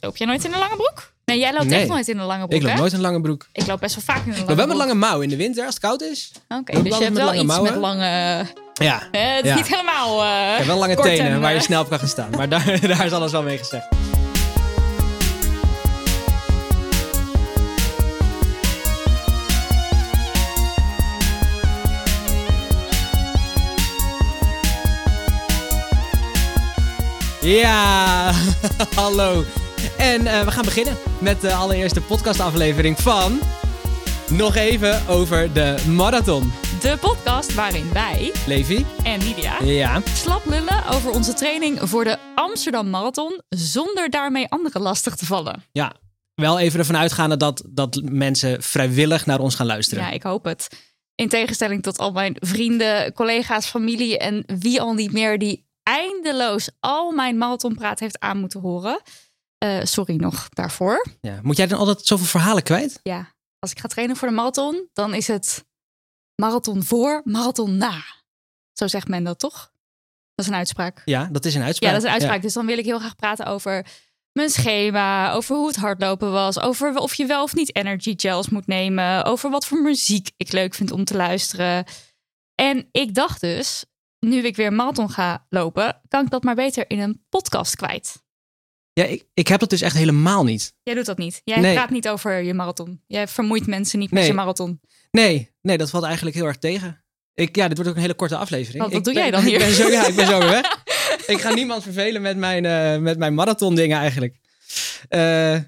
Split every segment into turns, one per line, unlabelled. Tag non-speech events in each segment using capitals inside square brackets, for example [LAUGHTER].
Loop jij nooit in een lange broek? Nee, jij loopt
Nee.
echt nooit in een lange broek,
Ik loop
hè?
nooit een lange broek.
Ik loop best wel vaak in een lange
Maar wel met
broek.
lange mouw in de winter als het koud is.
Oké,
loop
dus je
altijd
hebt
met
wel
lange
iets
mouwen.
met lange...
Ja.
Eh, [LAUGHS] het is
Ja.
niet helemaal... eh,
Ik heb wel lange
kort
tenen
en,
waar je
eh,
snel op kan gaan staan. Maar daar, [LAUGHS] daar is alles wel mee gezegd. Ja, [LAUGHS] hallo. En eh, we gaan beginnen met de allereerste podcastaflevering van... Nog even over de marathon.
De podcast waarin wij
Levi?
en Lydia
Ja.
slap lullen over onze training voor de Amsterdam Marathon... zonder daarmee anderen lastig te vallen.
Ja, wel even ervan uitgaande dat, dat mensen vrijwillig naar ons gaan luisteren.
Ja, ik hoop het. In tegenstelling tot al mijn vrienden, collega's, familie en wie al niet meer... die eindeloos al mijn marathonpraat heeft aan moeten horen. Eh, sorry nog daarvoor.
Ja. Moet jij dan altijd zoveel verhalen kwijt?
Ja, als ik ga trainen voor de marathon, dan is het marathon voor, marathon na. Zo zegt men dat toch? Dat is een uitspraak.
Ja, dat is een uitspraak.
Ja, dat is een uitspraak. Dus dan wil ik heel graag praten over mijn schema, over hoe het hardlopen was, over of je wel of niet energy gels moet nemen, over wat voor muziek ik leuk vind om te luisteren. En ik dacht dus, nu ik weer marathon ga lopen, kan ik dat maar beter in een podcast kwijt.
Ja, ik, ik heb dat dus echt helemaal niet.
Jij doet dat niet. Jij
Nee.
praat niet over je marathon. Jij vermoeit mensen niet met
Nee.
je marathon.
Nee, nee, dat valt eigenlijk heel erg tegen. Ik, ja, dit wordt ook een hele korte aflevering.
Wat- wat
Ik
doe
ben-
jij dan hier?
[LAUGHS] Ik ben zo, ja, ik ben zo weer
[LAUGHS]
weg. ik ga niemand vervelen met mijn, eh, met mijn marathon dingen eigenlijk. Eh,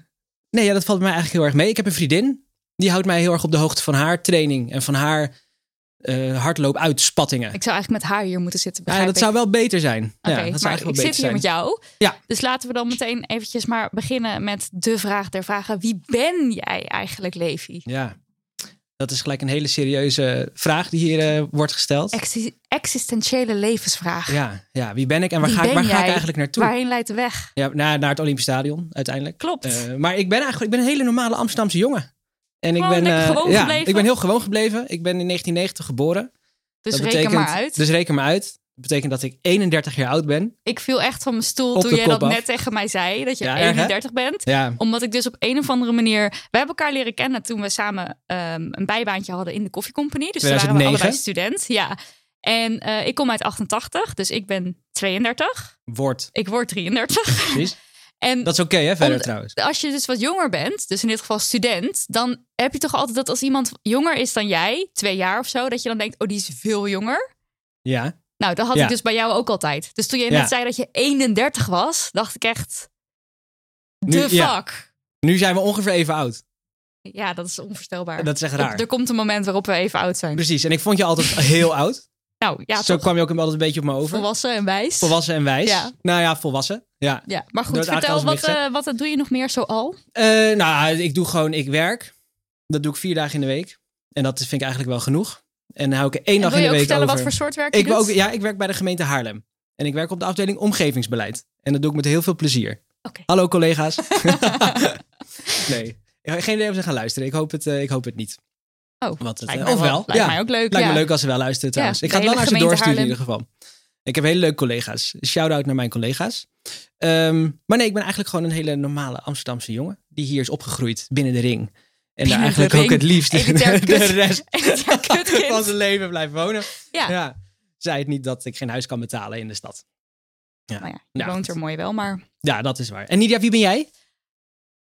nee, ja, dat valt mij eigenlijk heel erg mee. Ik heb een vriendin. Die houdt mij heel erg op de hoogte van haar training en van haar eh hardloop-uitspattingen.
Ik zou eigenlijk met haar hier moeten zitten.
Ja,
begrijp
dat zou wel beter zijn.
ik. Oké,
ja, dat zou
maar
eigenlijk wel
ik
beter
zit hier met
zijn.
jou.
Ja.
Dus laten we dan meteen eventjes maar beginnen met de vraag der vragen. Wie ben jij eigenlijk, Levi?
Ja, dat is gelijk een hele serieuze vraag die hier eh, wordt gesteld.
Exi- existentiële levensvraag.
Ja, ja, wie ben ik en waar,
Wie
ga ik,
ben
waar ga ik
jij?
eigenlijk naartoe?
Waarheen leidt de weg?
Ja, naar, naar het Olympisch Stadion uiteindelijk.
Klopt.
Eh, maar ik ben eigenlijk ik ben een hele normale Amsterdamse jongen. En ik
Gewoon
ben,
Oh, lekker
eh,
gewoon
ja,
gebleven.
ik ben heel gewoon gebleven. Ik ben in 1990 geboren.
dus
dat
reken
betekent,
maar uit.
Dus reken maar uit. Dat betekent dat ik 31 jaar oud ben.
ik viel echt van mijn stoel
Op
toen
de
jij
kop
dat
af.
net tegen mij zei. Dat je
Ja, erg, hè?
31 bent.
Ja,
Omdat ik dus op een of andere manier... We hebben elkaar leren kennen toen we samen ehm, een bijbaantje hadden in de koffiecompagnie. Dus toen waren we
2009.
allebei student. Ja. En eh, ik kom uit 88, dus ik ben 32.
wordt.
Ik word 33.
Precies.
[LAUGHS] En
Dat is oké, hè, verder
Om-
trouwens.
als je dus wat jonger bent, dus in dit geval student, dan heb je toch altijd dat als iemand jonger is dan jij, twee jaar of zo, dat je dan denkt, oh, die is veel jonger.
Ja.
Nou, dat had
Ja.
ik dus bij jou ook altijd. Dus toen je
Ja.
net zei dat je 31 was, dacht ik echt,
Nu-
de
ja.
fuck.
Nu zijn we ongeveer even oud.
Ja. dat is onvoorstelbaar.
Dat is echt
Er- Er
raar.
komt een moment waarop we even oud zijn.
Precies. En ik vond je altijd
[LAUGHS]
heel oud.
Nou, ja,
Zo
toch?
kwam je ook altijd een beetje op me over.
Volwassen en wijs.
Volwassen en wijs.
Ja.
Nou ja, volwassen. Ja.
Ja, maar
Door
goed,
het aantal
vertel, wat,
gewicht, hè?
eh, wat doe je nog meer zoal?
Eh, nou, ik doe gewoon, ik werk. Dat doe ik vier dagen in de week. En dat vind ik eigenlijk wel genoeg. En dan hou ik er één
En
dag
wil
in
je
de
ook
week
vertellen
over.
wat voor soort werk je
ik, wil
doet?
ook, ja, ik werk bij de gemeente Haarlem. En ik werk op de afdeling omgevingsbeleid. En dat doe ik met heel veel plezier.
Oké.
Hallo
[LAUGHS]
collega's. nee, ik heb geen idee of ze gaan luisteren. Ik hoop het, eh, ik hoop het niet.
Oh,
Want het,
lijkt
eh,
mij
of wel.
Lijkt
ja.
mij ook leuk.
Lijkt
ja.
me leuk als ze wel luisteren trouwens.
Ja,
ik ga het
de
wel naar
hele
ze doorsturen in
gemeente
ieder geval. Ik heb hele leuke collega's. Shout-out naar mijn collega's. Ehm, maar nee, ik ben eigenlijk gewoon een hele normale Amsterdamse jongen. Die hier is opgegroeid binnen de ring. En daar
de
eigenlijk
ring.
ook het liefst
Elitair
[LAUGHS] de
kut- [LAUGHS]
rest [LAUGHS]
Elitair kutkind.
van zijn leven blijft wonen.
Ja.
Zij het niet dat ik geen huis kan betalen in de stad.
Nou ja, je
Nou,
woont er mooi wel, maar...
Ja, dat is waar. En Nidia, wie ben jij?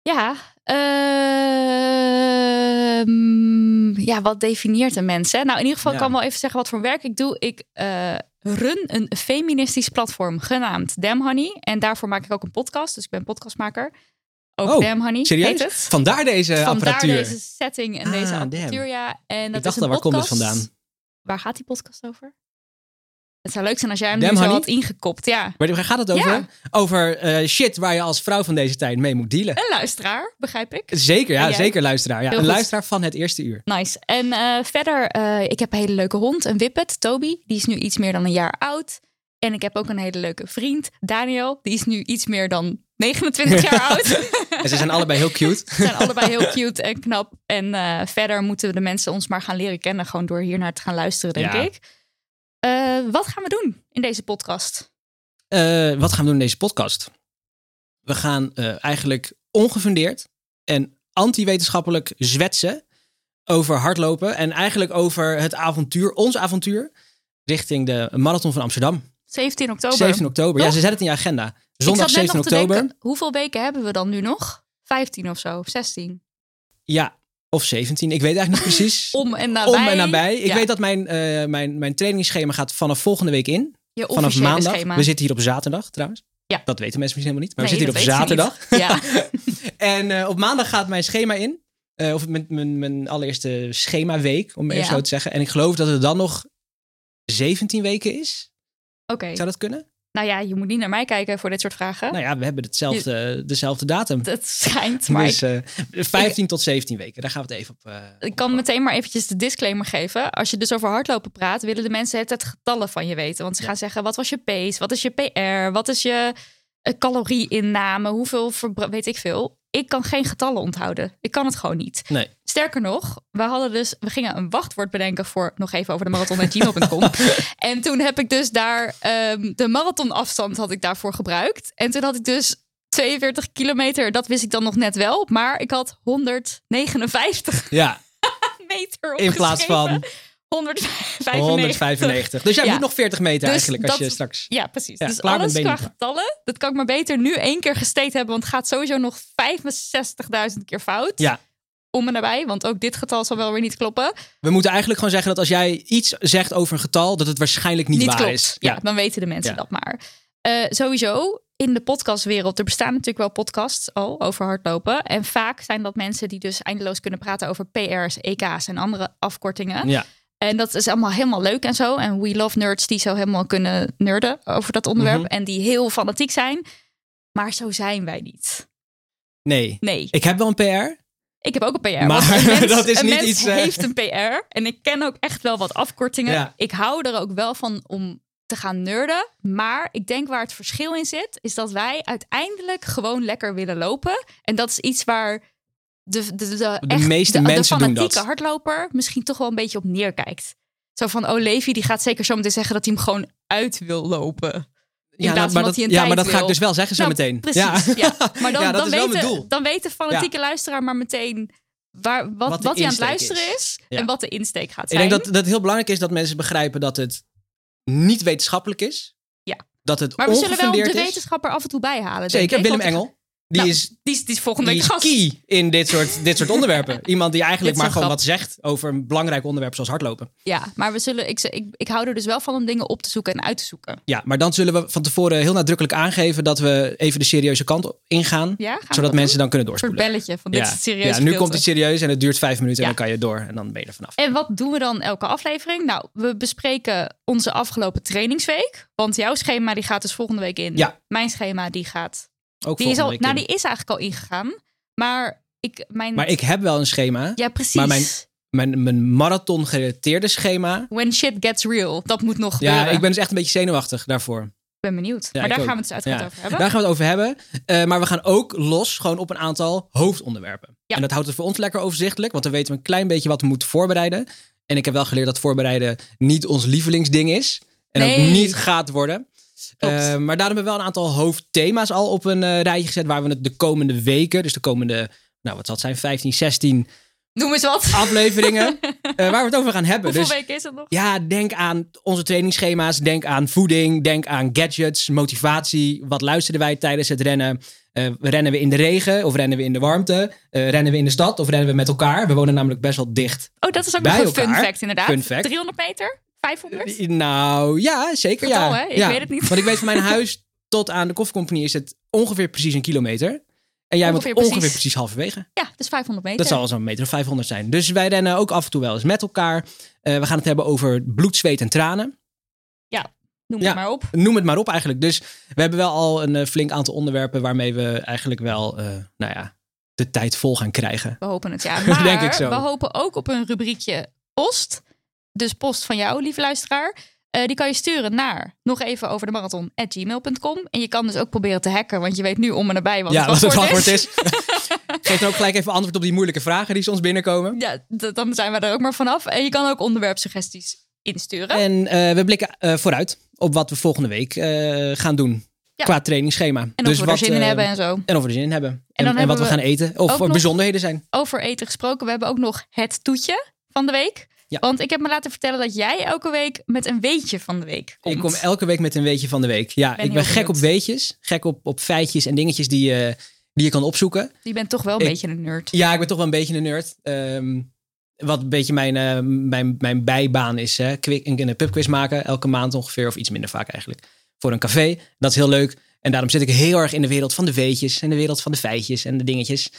Ja, ehm, ja, wat definieert een mens? Hè? Nou, in ieder geval
Ja.
kan ik wel even zeggen wat voor werk ik doe. Ik eh, run een feministisch platform genaamd Damn Honey. En daarvoor maak ik ook een podcast, dus ik ben podcastmaker. Ook
Oh,
Damn Honey
serieus?
heet het.
Vandaar deze
Vandaar
Eh, apparatuur.
deze setting en
Ah,
deze
damn.
apparatuur, ja. En dat
ik dacht
is een
al, waar komt het
podcast.
vandaan?
Waar gaat die podcast over? Het zou leuk zijn als jij hem
Damn
nu zo
Honey?
had ingekopt, ja.
Maar waar gaat het over?
Ja.
Over eh, shit waar je als vrouw van deze tijd mee moet dealen.
Een luisteraar, begrijp ik.
Zeker, ja,
En jij?
zeker luisteraar. Ja.
Heel
Een
goed.
luisteraar van het eerste uur.
Nice. En eh, verder, eh, ik heb een hele leuke hond, een whippet, Toby. Die is nu iets meer dan een jaar oud. En ik heb ook een hele leuke vriend, Daniel. Die is nu iets meer dan 29
[LAUGHS]
jaar oud. Ze
En ze zijn allebei heel
[LAUGHS]
cute.
zijn allebei heel cute en knap. En eh, verder moeten de mensen ons maar gaan leren kennen. Gewoon door hiernaar te gaan luisteren, denk
Ja.
ik. Eh, wat gaan we doen in deze podcast?
Eh, wat gaan we doen in deze podcast? we gaan eh, eigenlijk ongefundeerd en anti-wetenschappelijk zwetsen over hardlopen. En eigenlijk over het avontuur, ons avontuur, richting de Marathon van Amsterdam.
17 oktober.
17 oktober. Ja,
Toch?
ze zet het in je agenda.
Ik
Zondag
zat net
17
nog te
oktober.
denken, hoeveel weken hebben we dan nu nog? 15 of zo, 16.
Ja, of 17. Ik weet
[LAUGHS]
eigenlijk niet precies.
Om en nabij.
Om en nabij. Ik
Ja,
weet dat mijn, eh, mijn, mijn trainingsschema gaat vanaf volgende week in.
je
Vanaf
officiële
maandag.
schema.
We zitten hier op zaterdag trouwens.
Ja.
Dat weten mensen misschien helemaal niet. Maar we
Nee,
zitten hier op
dat weten ze
zaterdag.
niet.
[LAUGHS]
Ja.
En eh, op maandag gaat mijn schema in. Eh, of mijn, mijn, mijn allereerste schemaweek, om maar even
Ja.
zo te zeggen. En ik geloof dat het dan nog 17 weken is.
Oké.
Zou dat kunnen?
Nou ja, je moet niet naar mij kijken voor dit soort vragen.
Nou ja, we hebben hetzelfde, dezelfde datum.
Dat schijnt, maar
dus eh 15 tot 17 weken. Daar gaan we het even op. eh,
ik, ik kan meteen maar eventjes de disclaimer geven. Als je dus over hardlopen praat, willen de mensen het getallen van je weten. Want ze gaan zeggen, wat was je pace? Wat is je PR? Wat is je eh, calorieinname? Hoeveel, verbra- weet ik veel. Ik kan geen getallen onthouden. Ik kan het gewoon niet.
Nee.
Sterker nog, we hadden dus, we gingen een wachtwoord bedenken voor nog even over de marathon.gmail.com. en toen heb ik dus daar ehm, de marathonafstand had ik daarvoor gebruikt. En toen had ik dus 42 kilometer, dat wist ik dan nog net wel, maar ik had 159
Ja,
meter
in plaats van
195.
195. Dus jij
Ja.
moet nog 40 meter
Dus
eigenlijk als
dat-
je straks.
Ja, precies.
Ja,
dus
klaar met
alles
benen
qua
klaar.
getallen, dat kan ik maar beter nu één keer gesteed hebben, want het gaat sowieso nog 65.000 keer fout.
Ja.
Om en nabij, want ook dit getal zal wel weer niet kloppen.
We moeten eigenlijk gewoon zeggen dat als jij iets zegt over een getal, dat het waarschijnlijk niet, waar
klopt.
is.
Ja. dan weten de mensen
Ja.
dat maar. Eh, sowieso, in de podcastwereld, er bestaan natuurlijk wel podcasts al over hardlopen. En vaak zijn dat mensen die dus eindeloos kunnen praten over PR's, EK's en andere afkortingen.
ja.
En dat is allemaal helemaal leuk en zo. En we love nerds die zo helemaal kunnen nerden over dat onderwerp.
Mhm.
En die heel fanatiek zijn. Maar zo zijn wij niet.
Nee.
Nee,
Ik heb wel een PR.
ik heb ook een PR.
Maar
want
[LAUGHS]
een mens,
dat is
een
niet
mens
iets, eh.
heeft een PR. En ik ken ook echt wel wat afkortingen.
Ja.
Ik hou er ook wel van om te gaan nerden. Maar ik denk waar het verschil in zit, is dat wij uiteindelijk gewoon lekker willen lopen. En dat is iets waar de, de, de, echt-
meeste
de,
mensen
de
doen
fanatieke
dat.
hardloper misschien toch wel een beetje op neerkijkt. Zo van, oh Levi, die gaat zeker zo meteen zeggen dat hij hem gewoon uit wil lopen. In
Ja,
plaats van
maar
dat
dat,
hij een
ja,
tijd
maar dat ga ik
wil.
dus wel zeggen zo
Nou,
meteen.
Precies, ja.
[LAUGHS]
Maar dan,
Ja, dat
dan,
is wel mijn
weten,
doel.
dan weet de fanatieke luisteraar maar meteen waar, wat,
Wat
wat,
de
hij aan het
insteek
luisteren is,
Ja.
en wat de insteek gaat
Ik
zijn.
denk dat, dat het heel belangrijk is dat mensen begrijpen dat het niet wetenschappelijk is.
Ja.
Dat het
maar we zullen wel de
ongefundeerd is.
wetenschapper af en toe bijhalen. denk
Zeker,
ik,
Willem
want-
Engel. Die
Nou,
is,
Die is, die is volgende
die
week
is
gast.
key in dit soort, dit soort onderwerpen.
[LAUGHS]
Iemand die eigenlijk
Dit
maar
is een
gewoon wat zegt over een belangrijk onderwerp zoals hardlopen.
Ja, maar we zullen, ik, ik, ik hou er dus wel van om dingen op te zoeken en uit te zoeken.
Ja, maar dan zullen we van tevoren heel nadrukkelijk aangeven dat we even de serieuze kant op ingaan.
Ja, gaan we
zodat
dat
mensen dan kunnen
Een soort
doorspoelen.
belletje van dit is het serieus
ja, nu
gedeelte.
komt het serieus en het duurt vijf minuten
Ja.
en dan kan je door en dan ben je er vanaf.
En wat doen we dan elke aflevering? Nou, we bespreken onze afgelopen trainingsweek. Want jouw schema die gaat dus volgende week in.
Ja.
Mijn schema die gaat.
Ook
Die is, al,
volgende week
nou,
in.
die is eigenlijk al ingegaan. Maar ik, mijn,
Maar ik heb wel een schema.
ja, precies.
maar mijn- Mijn, mijn marathon gerelateerde schema.
When shit gets real. Dat moet nog gebeuren.
Ja, ik ben dus echt een beetje zenuwachtig daarvoor.
ben benieuwd. maar
ik
daar
ook.
gaan we het dus uiteraard
Ja.
over hebben.
Daar gaan we het over hebben. Eh, maar we gaan ook los gewoon op een aantal hoofdonderwerpen.
Ja.
En dat houdt het voor ons lekker overzichtelijk, want dan weten we een klein beetje wat we moeten voorbereiden. En ik heb wel geleerd dat voorbereiden niet ons lievelingsding is. En
Nee.
ook niet gaat worden.
Klopt.
Eh, maar daarom hebben we wel een aantal hoofdthema's al op een eh, rijtje gezet. Waar we het de komende weken, dus de komende, nou wat zal het zijn, 15, 16
Noem eens wat.
afleveringen. eh, waar we het over gaan hebben.
[LAUGHS] Hoeveel
Ah, dus
weken is het nog?
ja, denk aan onze trainingsschema's, denk aan voeding, denk aan gadgets, motivatie. Wat luisterden wij tijdens het rennen? Eh, rennen we in de regen of rennen we in de warmte? Eh, rennen we in de stad of rennen we met elkaar? We wonen namelijk best wel dicht.
Oh, dat is ook
Bij
nog een fun
elkaar.
fact inderdaad.
Fun fact.
300 meter? 500?
Nou ja, zeker
Vertel,
ja.
hè? Ik
Ja.
weet het niet.
Want ik weet van
[LAUGHS]
mijn huis tot aan de koffiecompagnie is het ongeveer precies een kilometer. En jij
Ongeveer
moet ongeveer
precies.
precies, halverwege.
Ja, dus 500 meter.
Dat zal zo'n meter of 500 zijn. Dus wij rennen ook af en toe wel eens met elkaar. Eh, we gaan het hebben over bloed, zweet en tranen.
Noem
Ja.
het maar op.
noem het maar op eigenlijk. Dus we hebben wel al een eh, flink aantal onderwerpen waarmee we eigenlijk wel, eh, nou ja, de tijd vol gaan krijgen.
We hopen
[LAUGHS]
het, ja. Maar
Denk ik zo.
we hopen ook op een rubriekje post. Dus post van jou, lieve luisteraar. Eh, die kan je sturen naar nog even over de marathon gmail.com. En je kan dus ook proberen te hacken, want je weet nu om en nabij wat
ja,
het
wat het
antwoord
antwoord
is.
is. [LAUGHS] Geef dan ook gelijk even antwoord op die moeilijke vragen die soms binnenkomen.
Ja, d- dan zijn we er ook maar vanaf. En je kan ook onderwerpsuggesties insturen.
En eh, we blikken eh, vooruit op wat we volgende week eh, gaan doen.
Ja.
Qua trainingsschema.
En of
dus
we
wat,
er zin in
eh,
hebben en zo.
En of we er zin in hebben. En,
dan
en wat
hebben
we,
we
gaan eten. Of
ook
wat
nog-
bijzonderheden zijn.
Over eten gesproken, we hebben ook nog het toetje van de week.
Ja.
Want ik heb me laten vertellen dat jij elke week met een weetje van de week komt.
Ik kom elke week met een weetje van de week. Ja,
ben
ik ben
heel
gek op
benieuwd.
weetjes. Gek op, op feitjes en dingetjes die, je- die je kan opzoeken.
Je bent toch wel een
Ik-
beetje een nerd.
Ja, ik ben toch wel een beetje een nerd. Ehm, wat een beetje mijn, eh, mijn, mijn bijbaan is. Hè? Quick, een, een pubquiz maken, elke maand ongeveer. Of iets minder vaak eigenlijk. Voor een café. Dat is heel leuk. En daarom zit ik heel erg in de wereld van de weetjes. En de wereld van de feitjes en de dingetjes.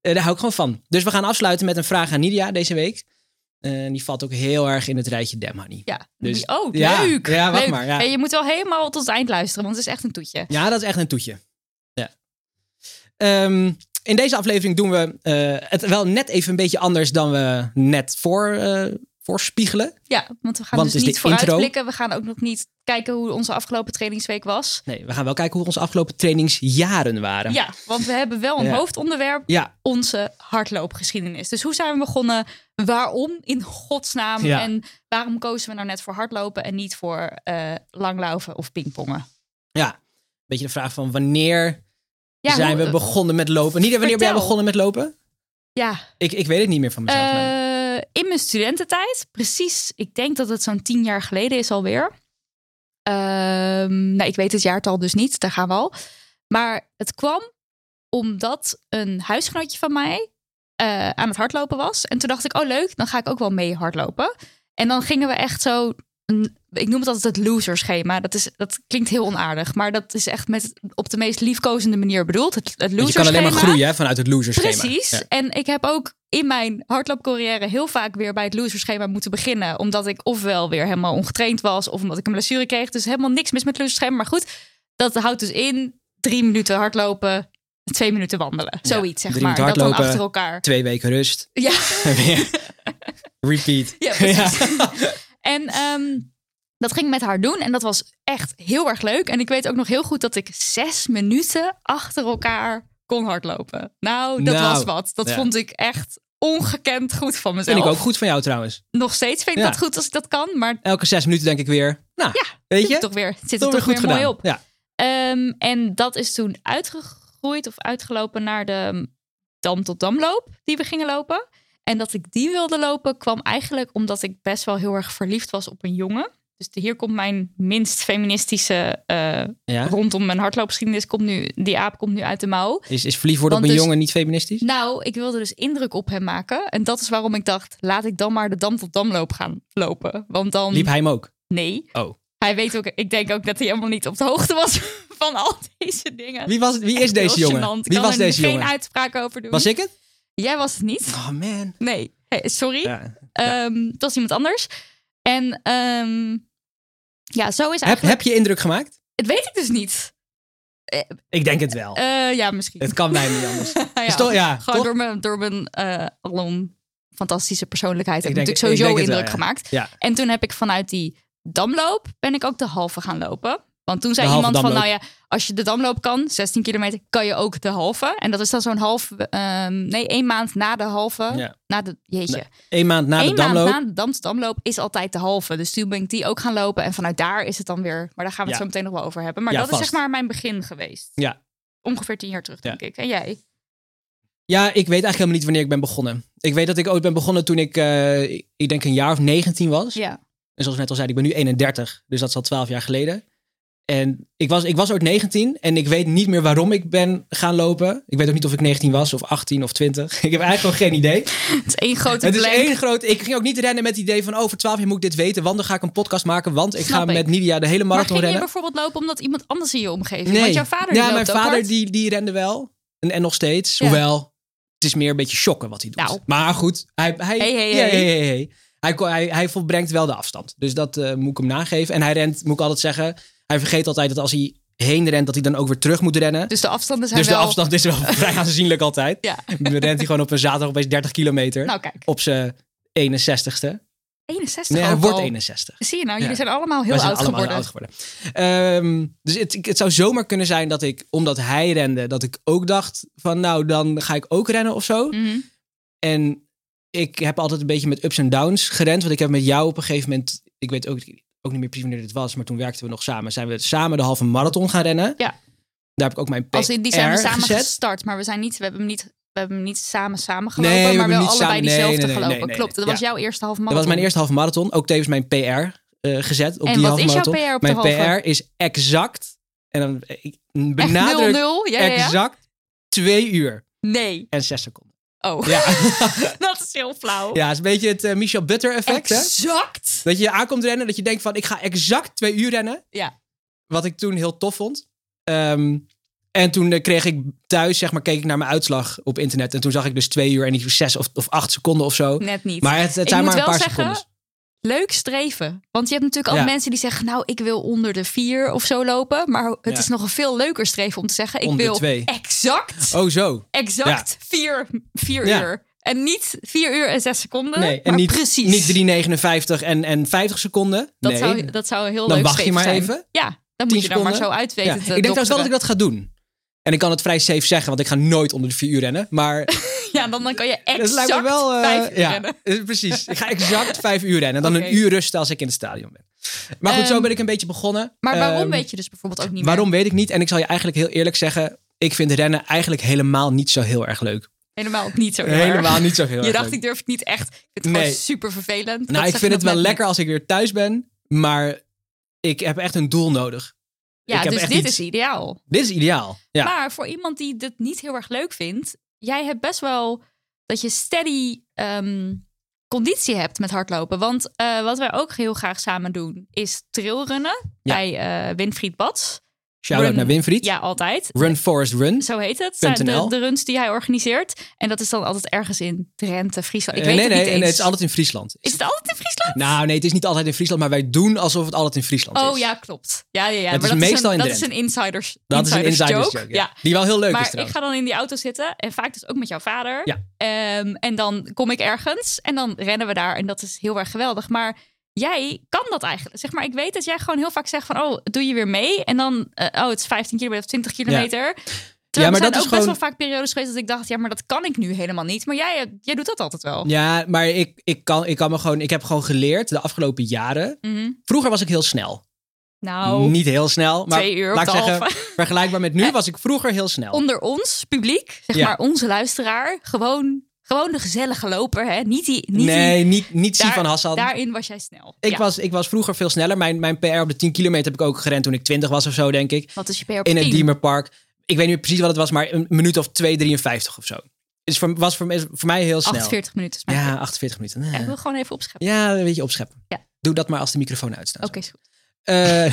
Eh, daar hou ik gewoon van. Dus we gaan afsluiten met een vraag aan Nidia deze week. En die valt ook heel erg in het rijtje Damn Honey.
Ja,
Dus-
Die- oh,
Ja,
leuk.
ja, wacht
leuk.
maar, ja.
Hey, je moet wel helemaal tot het eind luisteren, want het is echt een toetje.
Ja, dat is echt een toetje. Ja. Ehm, in deze aflevering doen we eh, het wel net even een beetje anders dan we net voor, eh, voorspiegelen.
Ja, want we gaan
Want
dus
het is
niet
de intro.
vooruitblikken. We gaan ook nog niet kijken hoe onze afgelopen trainingsweek was.
Nee, we gaan wel kijken hoe onze afgelopen trainingsjaren waren.
Ja, want we hebben wel een
Ja.
hoofdonderwerp,
Ja,
onze hardloopgeschiedenis. Dus hoe zijn we begonnen? Waarom in godsnaam?
Ja.
En waarom kozen we nou net voor hardlopen en niet voor eh langlaufen of pingpongen?
ja. Beetje de vraag van wanneer
Ja,
zijn
hoe-
we begonnen met lopen? Niet wanneer ben jij
Vertel.
begonnen met lopen?
Ja,
Ik, ik weet het niet meer van mezelf. maar-
Eh, in mijn studententijd, precies, ik denk dat het zo'n tien jaar geleden is alweer. Ehm, nou, ik weet het jaartal dus niet, daar gaan we al. Maar het kwam omdat een huisgenootje van mij eh, aan het hardlopen was. En toen dacht ik, oh leuk, dan ga ik ook wel mee hardlopen. En dan gingen we echt zo, een- ik noem het altijd het loser schema. Dat, is, dat klinkt heel onaardig, maar dat is echt met, op de meest liefkozende manier bedoeld. Het, het
Want
loser
je kan alleen maar
schema.
groeien hè, vanuit het loserschema.
Precies.
Ja.
En ik heb ook in mijn hardloopcarrière heel vaak weer bij het loserschema moeten beginnen. Omdat ik ofwel weer helemaal ongetraind was of omdat ik een blessure kreeg. Dus helemaal niks mis met het loserschema. Maar goed, dat houdt dus in drie minuten hardlopen, twee minuten wandelen.
Ja,
Zoiets, zeg
drie
maar. Dat
minuten
dan
hardlopen.
achter elkaar.
Twee weken rust. [LAUGHS]
Ja,
Repeat.
ja precies.
Ja.
En ehm, dat ging ik met haar doen en dat was echt heel erg leuk. En ik weet ook nog heel goed dat ik zes minuten achter elkaar kon hardlopen. Nou, dat
Nou,
was wat. Dat
ja.
vond ik echt ongekend goed van
Vind
mezelf.
ik ook goed van jou trouwens.
Nog steeds vind ik
Ja.
dat goed als ik dat kan, maar
Elke zes minuten denk ik weer. Nou,
Ja,
weet je?
toch weer, het zit
Toch
er toch weer, mooi op.
Ja.
Ehm, en dat is toen uitgegroeid of uitgelopen naar de dam tot damloop die we gingen lopen. En dat ik die wilde lopen kwam eigenlijk omdat ik best wel heel erg verliefd was op een jongen. Dus de- hier komt mijn minst feministische eh,
Ja.
rondom mijn hardloopgeschiedenis. Komt nu, die aap komt nu uit de mouw.
Is, is verliefd worden
Want
op een
dus-
jongen niet feministisch?
Nou, ik wilde dus indruk op hem maken. En dat is waarom ik dacht, laat ik dan maar de dam tot damloop gaan lopen. Want dan...
Liep hij hem ook?
Nee.
Oh.
Hij weet ook, ik denk ook dat hij helemaal niet op de hoogte was [LAUGHS] van al deze dingen.
Wie, was, het- wie is deze
[LAUGHS] Heel
jongen?
gênant. Ik
Wie
kan
was
er
deze
geen
jongen?
uitspraak over doen.
Was ik het?
Jij was het niet. [LAUGHS]
Oh man.
Nee. Hey, sorry.
Ja.
Ehm, het was iemand anders. En ehm, ja, zo is
Heb,
eigenlijk...
heb je indruk gemaakt?
Het weet ik dus niet.
Ik denk het wel.
Eh, ja, misschien.
het kan mij niet anders.
[LAUGHS] Ja,
Is toch- ja,
gewoon
toch?
door mijn, door mijn eh, alom fantastische persoonlijkheid heb ik
denk-
natuurlijk sowieso
ik denk het
indruk
wel, ja.
gemaakt.
Ja.
En toen heb ik vanuit die damloop ben ik ook de halve gaan lopen. Want toen zei
De halve
iemand van, nou
damloop.
ja, als je de damloop kan, 16 kilometer, kan je ook de halve. En dat is dan zo'n half, ehm, nee, één maand na de halve,
Ja.
na de, jeetje.
Eén maand na
Eén
de
maand
damloop.
na de dam damloop is altijd de halve. Dus toen ben ik die ook gaan lopen. En vanuit daar is het dan weer, maar daar gaan we het
Ja.
zo meteen nog wel over hebben. Maar
Ja,
dat is
vast.
zeg maar mijn begin geweest.
Ja.
Ongeveer tien jaar terug,
Ja.
denk ik. En jij?
Ja, ik weet eigenlijk helemaal niet wanneer ik ben begonnen. Ik weet dat ik ooit ben begonnen toen ik, eh, ik denk een jaar of 19 was.
Ja.
En zoals ik net al zei, ik ben nu 31. Dus dat is al 12 jaar geleden. En ik was, ik was ooit 19 en ik weet niet meer waarom ik ben gaan lopen. Ik weet ook niet of ik 19 was of 18 of 20. [LAUGHS] Ik heb eigenlijk nog geen idee.
[LAUGHS] Het is één grote
Het is
blank.
één groot. Ik ging ook niet rennen met het idee van over 12 jaar moet ik dit weten, want dan ga ik een podcast maken, want ik
Snap
ga
ik.
met Nidia de hele
Maar
marathon
ging je
rennen.
bijvoorbeeld lopen omdat iemand anders in je omgeving? Want Dus jouw vader die
ja, mijn
loopt ook
vader
hard.
die, die rende wel en, en nog steeds,
Ja.
hoewel het is meer een beetje shocken wat hij doet.
Nou.
Maar goed, hij hij,
Hey, hey,
ja,
hey.
hey, hey, hey. Hij, kon- hij, hij volbrengt wel de afstand, dus dat eh, moet ik hem nageven. En hij rent, moet ik altijd zeggen, hij vergeet altijd dat als hij heen rent, dat hij dan ook weer terug moet rennen.
Dus de afstanden zijn
Dus de
wel... [LAUGHS]
afstand is wel vrij aanzienlijk altijd.
Ja.
Dan rent hij gewoon op een zaterdag opeens 30 kilometer
Nou kijk,
op zijn 61ste.
61
Nee, hij
ook
wordt
al.
61.
Zie je nou,
Ja.
jullie zijn allemaal heel
We zijn
oud
allemaal
geworden.
oud geworden. Ehm, dus het, het zou zomaar kunnen zijn dat ik, omdat hij rende, dat ik ook dacht van nou, dan ga ik ook rennen of zo.
Mhm.
En ik heb altijd een beetje met ups en downs gerend. Want ik heb met jou op een gegeven moment, ik weet ook, ook niet meer precies wanneer dit was, maar toen werkten we nog samen. Zijn we samen de halve marathon gaan rennen.
Ja.
Daar heb ik ook mijn PR
Als in die zijn we samen
gezet.
gestart, maar we, zijn niet, we hebben hem niet, we hebben hem niet samen samen
Nee,
gelopen,
we
maar
hebben
wel
niet
allebei
samen- nee,
diezelfde
nee, nee,
gelopen.
nee, nee,
Klopt, dat
nee.
was jouw eerste halve
Dat
marathon.
was mijn eerste halve marathon. Ook tevens mijn PR eh, gezet op
En
die
wat
halve
is jouw
marathon.
PR op de
mijn
halve?
PR is exact, en dan eh, ik
Echt
benadruk
0-0? Ja, ja, ja.
exact, twee uur
Nee.
en zes seconden.
Oh, [LAUGHS]
Ja,
dat is heel flauw.
ja is een beetje het eh, Michel Butter effect. Hè?
Exact.
Dat je aankomt rennen, dat je denkt van ik ga exact twee uur rennen.
Ja.
Wat ik toen heel tof vond. Ehm, en toen eh, kreeg ik thuis, zeg maar, keek ik naar mijn uitslag op internet. En toen zag ik dus twee uur en niet zes of, of acht seconden of zo.
Net niet.
Maar het, het
Ik
zijn
moet
maar een
wel
paar
zeggen,
seconden.
Leuk streven. Want je hebt natuurlijk al
Ja.
mensen die zeggen, nou, ik wil onder de vier of zo lopen. Maar het
Ja.
is nog een veel leuker streven om te zeggen, ik
Onder de
wil
twee.
exact,
Oh, zo.
exact vier, vier
Ja.
uur. En niet vier uur en zes seconden,
Nee, en
maar
niet-
precies.
Niet 3,59 en, en 50 seconden.
dat,
nee.
zou, dat zou een heel
Dan
leuk
wacht je
streven
maar
zijn.
even.
Ja, dan
Tien
moet je eh, er maar zo
seconden.
uit
Ja.
weten
Ik
te
denk trouwens wel dat ik
dokteren.
dat ga doen. En ik kan het vrij safe zeggen, want ik ga nooit onder de vier uur rennen. Maar
[LAUGHS] Ja, dan, dan kan je exact
[LAUGHS] dat lijkt me wel. eh,
vijf uur
ja,
rennen.
eh, precies. Ik
[LAUGHS]
ga exact vijf uur rennen. En dan
Oké.
een uur rusten als ik in het stadion ben. Maar goed, zo
Ehm,
ben ik een beetje begonnen.
Maar waarom
Ehm,
weet je dus bijvoorbeeld ook niet
Waarom
meer?
weet ik niet. En ik zal je eigenlijk heel eerlijk zeggen. Ik vind rennen eigenlijk helemaal niet zo heel erg leuk.
Helemaal niet
[LAUGHS]
zo heel erg.
Helemaal niet
[LAUGHS]
zo heel erg
Je
leuk.
dacht, ik durf het niet echt. Ik vind het
Nee.
gewoon super vervelend. Dat
nou, ik
zeg
vind
je
het wel
net
lekker
niet.
als ik weer thuis ben. Maar ik heb echt een doel nodig.
Ja,
Ik heb
dus
echt
dit
iets-
is ideaal.
Dit is ideaal. Ja.
Maar voor iemand die dit niet heel erg leuk vindt, jij hebt best wel dat je steady ehm, conditie hebt met hardlopen. Want eh, wat wij ook heel graag samen doen, is trailrunnen
Ja.
bij eh, Winfried Bats.
Shout-out
Run.
naar Winfried.
Ja, altijd.
Run Forest Run.
Zo heet het. zijn De,
.nl.
de runs die hij organiseert. En dat is dan altijd ergens in Drenthe, Friesland. Ik
Eh,
weet
nee,
het niet
nee,
eens.
nee, het is altijd in Friesland.
Is het altijd in Friesland?
Nou, nee, het is niet altijd in Friesland, maar wij doen alsof het altijd in Friesland is.
Oh ja, klopt. Ja, ja, ja.
Het
maar
is
dat
meestal
is
in
een, dat is
Drenthe.
een insiders,
Dat
insiders
is een insider
joke.
joke. ja. Die wel heel leuk is
Maar ik
trouwens.
ga dan in die auto zitten en vaak dus ook met jouw vader.
Ja.
Ehm, en dan kom ik ergens en dan rennen we daar en dat is heel erg geweldig. Maar jij kan dat eigenlijk. Zeg maar, ik weet dat jij gewoon heel vaak zegt van, oh, doe je weer mee? En dan, eh, oh, het is 15 kilometer of 20 kilometer. Terwijl
maar
er zijn
dat
ook
is
best
gewoon-
wel vaak periodes geweest dat ik dacht, ja, maar dat kan ik nu helemaal niet. Maar jij, jij doet dat altijd wel.
Ja, maar ik, ik, kan, ik, kan me gewoon, ik heb gewoon geleerd de afgelopen jaren.
Mhm.
Vroeger was ik heel snel.
Nou,
Niet heel snel, maar
twee uur op
laat
de
ik zeggen,
halve.
[LAUGHS] vergelijkbaar met nu was ik vroeger heel snel.
onder ons publiek, zeg
Ja.
maar onze luisteraar, gewoon, gewoon de gezellige loper. Hè? Niet die, niet
nee, niet, niet
die,
Sivan Hassan.
Daarin was jij snel.
ik,
Ja.
was, ik was vroeger veel sneller. Mijn, mijn PR op de 10 kilometer heb ik ook gerend toen ik 20 was of zo, denk ik.
Wat is je PR op
In het
10?
Diemerpark. Ik weet niet meer precies wat het was, maar een minuut of 2,53 of zo. Is voor, was voor, is voor mij heel snel.
48 minuten is mijn
Ja,
PR.
48 minuten.
Ja, Ik
Eh.
wil gewoon even opscheppen.
Ja, een beetje opscheppen.
Ja.
Doe dat maar als de microfoon uitstaat.
Oké, is goed.
Eh, [LAUGHS]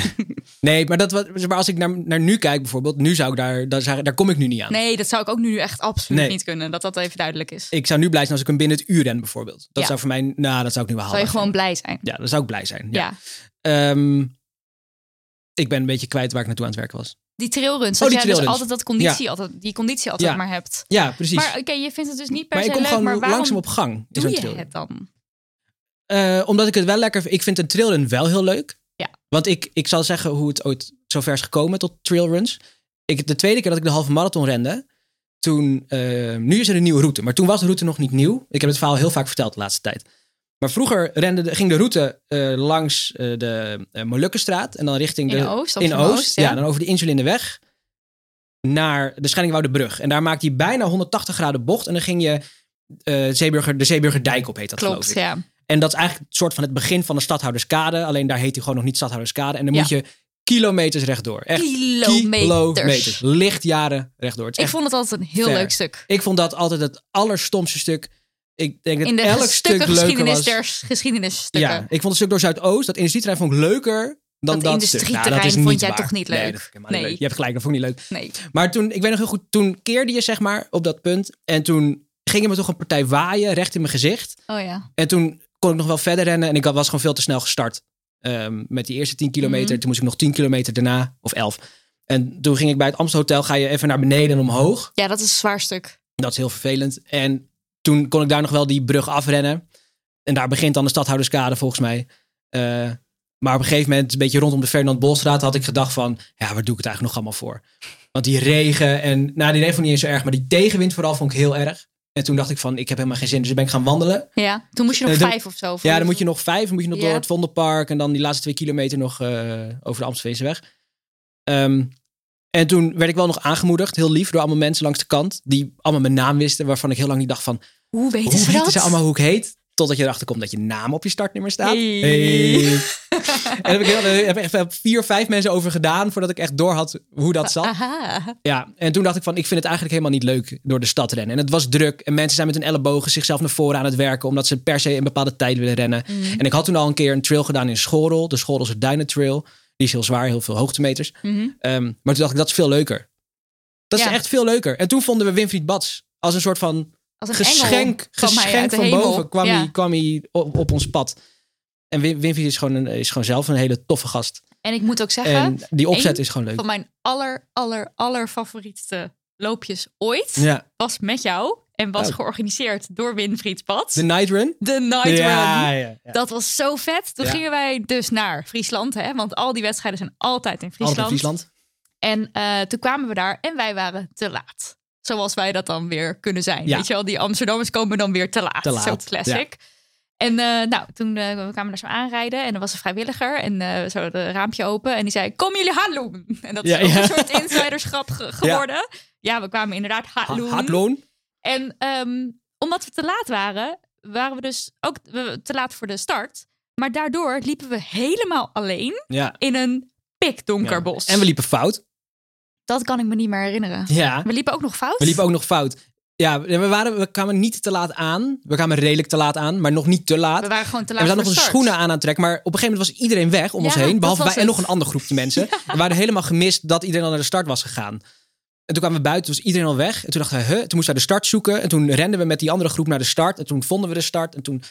nee, maar, dat, wat- maar als ik naar, naar nu kijk bijvoorbeeld, nu zou ik daar, daar, zou- daar kom ik nu niet aan.
Nee, dat zou ik ook nu echt absoluut
Nee.
niet kunnen. Dat dat even duidelijk is.
Ik zou nu blij zijn als ik hem binnen het uur ren bijvoorbeeld. Dat
Ja.
zou voor mij, nou, dat zou ik nu wel
Zou je
halen.
gewoon blij zijn.
Ja, dan zou ik blij zijn.
Ja.
Ja. Ehm, ik ben een beetje kwijt waar ik naartoe aan het werken was.
Die trailruns.
Oh,
dat
die
jij dus
trailruns.
altijd dat conditie, altijd, die conditie altijd
Ja.
maar hebt.
Ja, precies.
Maar oké, je vindt het dus niet per
Maar
se
ik kom
leuk.
gewoon
maar waarom
langzaam op gang. in
doe
zo'n
je
trailrun.
het dan?
Eh, omdat ik het wel lekker Ik vind een trailrun wel heel leuk.
Ja.
Want ik, ik zal zeggen hoe het ooit zover is gekomen tot trailruns. Ik, de tweede keer dat ik de halve marathon rende, toen... eh, nu is er een nieuwe route, maar toen was de route nog niet nieuw. Ik heb het verhaal heel vaak verteld de laatste tijd. Maar vroeger rende de, ging de route eh, langs eh, de eh, Molukkenstraat en dan richting
In
de...
Oost? Of
in Oost, ja. Dan over de Insulineweg naar de Schellingwoudebrug. En daar maakte hij bijna 180 graden bocht en dan ging je... eh, Zeeburger, de Zeeburgerdijk op heet dat geloof
Klopt,
ik.
ja.
En dat is eigenlijk het soort van het begin van de Stadhouderskade. Alleen daar heet hij gewoon nog niet Stadhouderskade. En dan
Ja.
moet je kilometers rechtdoor. Echt
Kilometers.
kilometers. Lichtjaren rechtdoor. Het is
Ik
echt-
vond het altijd een heel
ver.
leuk stuk.
ik vond dat altijd het allerstomste stuk. Ik denk dat
In de
elk
ges- stukken
stuk leuker
geschiedenis
was.
der s- geschiedenisstukken.
Ja, ik vond het stuk door Zuidoost, dat industrieterrein vond ik leuker dan
Dat
dat,
industrieterrein
stuk. Nou, dat is
vond
niet
jij
waar.
toch niet
Nee,
leuk?
dat vond ik helemaal niet
Nee.
leuk. Je hebt gelijk, dat vond ik niet leuk.
Nee.
Maar toen, ik weet nog heel goed, toen keerde je zeg maar op dat punt. En toen ging je me toch een partij waaien, recht in mijn gezicht.
Oh ja.
En toen kon ik nog wel verder rennen. En ik had- was gewoon veel te snel gestart. Ehm, met die eerste 10 kilometer.
Mhm.
Toen moest ik nog 10 kilometer daarna. Of 11. En toen ging ik bij het Amstelhotel. Ga je even naar beneden en omhoog.
Ja, dat is een zwaar stuk.
Dat is heel vervelend. En toen kon ik daar nog wel die brug afrennen. En daar begint dan de stadhouderskade volgens mij. Eh, maar op een gegeven moment, een beetje rondom de Fernand Bolstraat, had ik gedacht van... Ja, waar doe ik het eigenlijk nog allemaal voor? Want die regen en... Nou, die regen vond ik niet eens zo erg. Maar die tegenwind vooral vond ik heel erg. En toen dacht ik van, ik heb helemaal geen zin. Dus ik ben ik gaan wandelen.
Ja, toen moest je nog
Eh, dan-
vijf of zo.
Ja, dan moet je nog vijf, dan moet je nog
Ja.
door het Vondelpark en dan die laatste twee kilometer nog eh, over de Amstelveense weg. Ehm, En toen werd ik wel nog aangemoedigd, heel lief, door allemaal mensen langs de kant. Die allemaal mijn naam wisten, waarvan ik heel lang niet dacht van...
Hoe weten
hoe
ze
weten
dat?
ze allemaal hoe ik heet? Totdat je erachter komt dat je naam op je startnummer staat.
Hey.
en daar heb ik heel, daar heb ik echt vier, vijf mensen over gedaan... voordat ik echt door had hoe
[LAUGHS]
dat zat.
Aha.
Ja, en toen dacht ik van, ik vind het eigenlijk helemaal niet leuk door de stad rennen. En het was druk en mensen zijn met hun ellebogen zichzelf naar voren aan het werken... omdat ze per se een bepaalde tijd willen rennen.
Mhm.
En ik had toen al een keer een trail gedaan in Schorel, de Schorelse Duinentrail. Die is heel zwaar, heel veel hoogtemeters.
Mhm.
Ehm, maar toen dacht ik, dat is veel leuker. Dat is
Ja.
echt veel leuker. En toen vonden we Winfried Bats als een soort van
Als een engel
geschenk,
kwam hij uit
geschenk
de
van
hemel.
boven kwam,
Ja.
hij, kwam hij op, op ons pad. En Win- Winfried is gewoon, een, is gewoon zelf een hele toffe gast.
En ik moet ook zeggen,
En die opzet
Eén
is gewoon leuk.
van mijn aller, aller, aller favorietste loopjes ooit
Ja,
was met jou en was
Oh.
georganiseerd door Winfried Pad.
de
De,
night run.
Night
ja,
Run.
ja, ja.
Dat was zo vet. Toen
Ja.
gingen wij dus naar Friesland, hè? want al die wedstrijden zijn altijd in Friesland.
Altijd Friesland.
En eh, toen kwamen we daar en wij waren te laat. Zoals wij dat dan weer kunnen zijn.
Ja.
Weet je wel, die Amsterdammers komen dan weer te laat.
Te laat,
Zo classic. En eh, nou, toen eh, we kwamen daar zo aanrijden en er was een vrijwilliger en eh zo het raampje open en die zei, kom jullie Haarloem? [LAUGHS] En dat is
Ja,
ook
ja.
een soort insiderschap ge- geworden. Ja. we kwamen inderdaad Haarloem.
Hardloon.
En ehm, omdat we te laat waren, waren we dus ook we- te laat voor de start. Maar daardoor liepen we helemaal alleen
Ja.
in een pikdonker bos.
En we liepen fout.
Dat kan ik me niet meer herinneren.
Ja.
We liepen ook nog fout?
We liepen ook nog fout. Ja, we, waren, we kwamen niet te laat aan. We kwamen redelijk te laat aan, maar nog niet te laat.
We waren gewoon te
En
laat
we zaten nog
voor start.
onze schoenen aan aan het trekken. Maar op een gegeven moment was iedereen weg om
Ja,
ons heen.
dat
Behalve
was
wij en
het.
nog een ander groepje
[LAUGHS]
mensen. We waren helemaal gemist dat iedereen al naar de start was gegaan. En toen kwamen we buiten, toen was iedereen al weg. En toen dachten we, huh? toen moesten wij de start zoeken. En toen renden we met die andere groep naar de start. En toen vonden we de start. En toen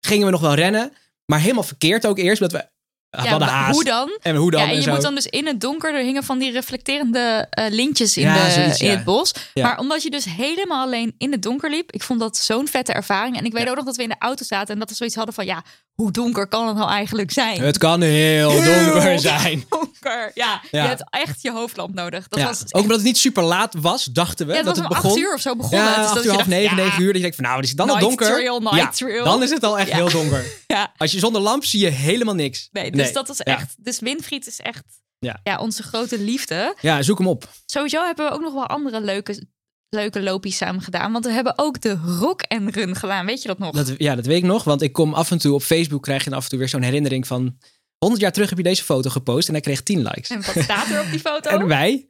gingen we nog wel rennen. Maar helemaal verkeerd ook eerst, omdat we we
Ja,
hadden
maar
haast.
Hoe dan?
En hoe dan?
ja, en
en
je
zo.
moet dan dus in het donker, er hingen van die reflecterende eh, lintjes in,
Ja,
de,
zoiets,
in
ja.
het bos.
Ja.
Maar omdat je dus helemaal alleen in het donker liep, ik vond dat zo'n vette ervaring. En ik weet ook nog dat we in de auto zaten en dat we zoiets hadden van, ja, hoe donker kan het nou eigenlijk zijn?
Het kan heel
Heel
donker zijn.
[LAUGHS] Donker, ja.
Ja.
Je hebt echt je hoofdlamp nodig. Dat
Ja,
was
Ook omdat het niet super laat was, dachten we.
ja, het
dat
was om
het begon.
acht uur of zo begonnen.
Ja,
Dus dat
acht
je
uur, half
dacht,
negen,
ja,
negen uur. Dat je denkt van, nou, is het dan al
Night
donker?
trail, night
ja,
trail.
dan is het al echt
Ja.
heel donker.
Ja.
Als je zonder lamp zie je helemaal niks.
Nee, dus
Nee,
dat was
ja.
echt... Dus Winfried is echt
Ja.
Ja, onze grote liefde.
Ja, zoek hem op.
Sowieso hebben we ook nog wel andere leuke, leuke lopies samen gedaan. Want we hebben ook de rock en run gedaan. Weet je dat nog?
Dat, ja, dat weet ik nog, want ik kom af en toe op Facebook krijg je dan af en toe weer zo'n herinnering van 100 jaar terug heb je deze foto gepost en hij kreeg 10 likes.
En wat staat er op
[LAUGHS]
die foto?
En wij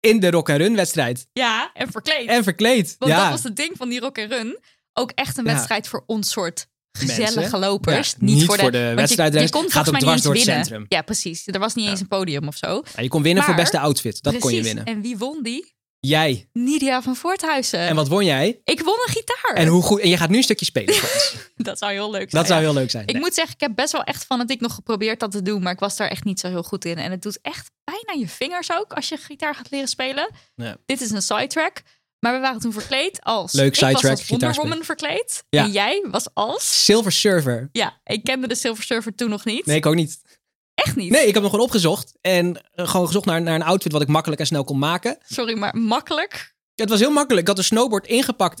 in de rock en run wedstrijd
ja, en verkleed.
en verkleed.
Want
ja.
dat was het ding van die rock en run. Ook echt een
Ja.
wedstrijd voor ons soort
Mensen.
gezellige lopers.
Ja,
niet, voor de, want je- Je,
wedstrijdrenners.
kon
Gaat
volgens
ook
mij
dwars
niet
door
eens
het
winnen.
centrum.
Ja, precies. Er was niet eens een podium of zo.
Ja, je kon winnen voor
Maar-
beste outfit. Dat kon je
Precies.
winnen.
En wie won die?
Jij.
Nidia van Voorthuizen.
En wat won jij?
Ik won een gitaar.
En, hoe goed, en je gaat nu een stukje
[LAUGHS]
spelen. voor ons.
Dat zou heel leuk zijn.
Dat zou heel leuk zijn.
Ik moet zeggen, ik heb best wel echt fanatiek nog geprobeerd dat te doen. Maar ik was daar echt niet zo heel goed in. En het doet echt pijn aan je vingers ook als je gitaar gaat leren spelen.
Ja.
Dit is een sidetrack. Maar we waren toen verkleed als...
Leuk
Ik was
sidetrack,
als Wonder
gitaar
Woman verkleed.
Ja.
En jij was als...
Silver Server.
Ja, ik kende de Silver Surfer toen nog niet.
Nee, ik ook niet.
Echt niet.
Nee, ik heb hem gewoon opgezocht. En eh, gewoon gezocht naar, naar een outfit wat ik makkelijk en snel kon maken.
Sorry, maar makkelijk.
Het was heel makkelijk. Ik had een snowboard ingepakt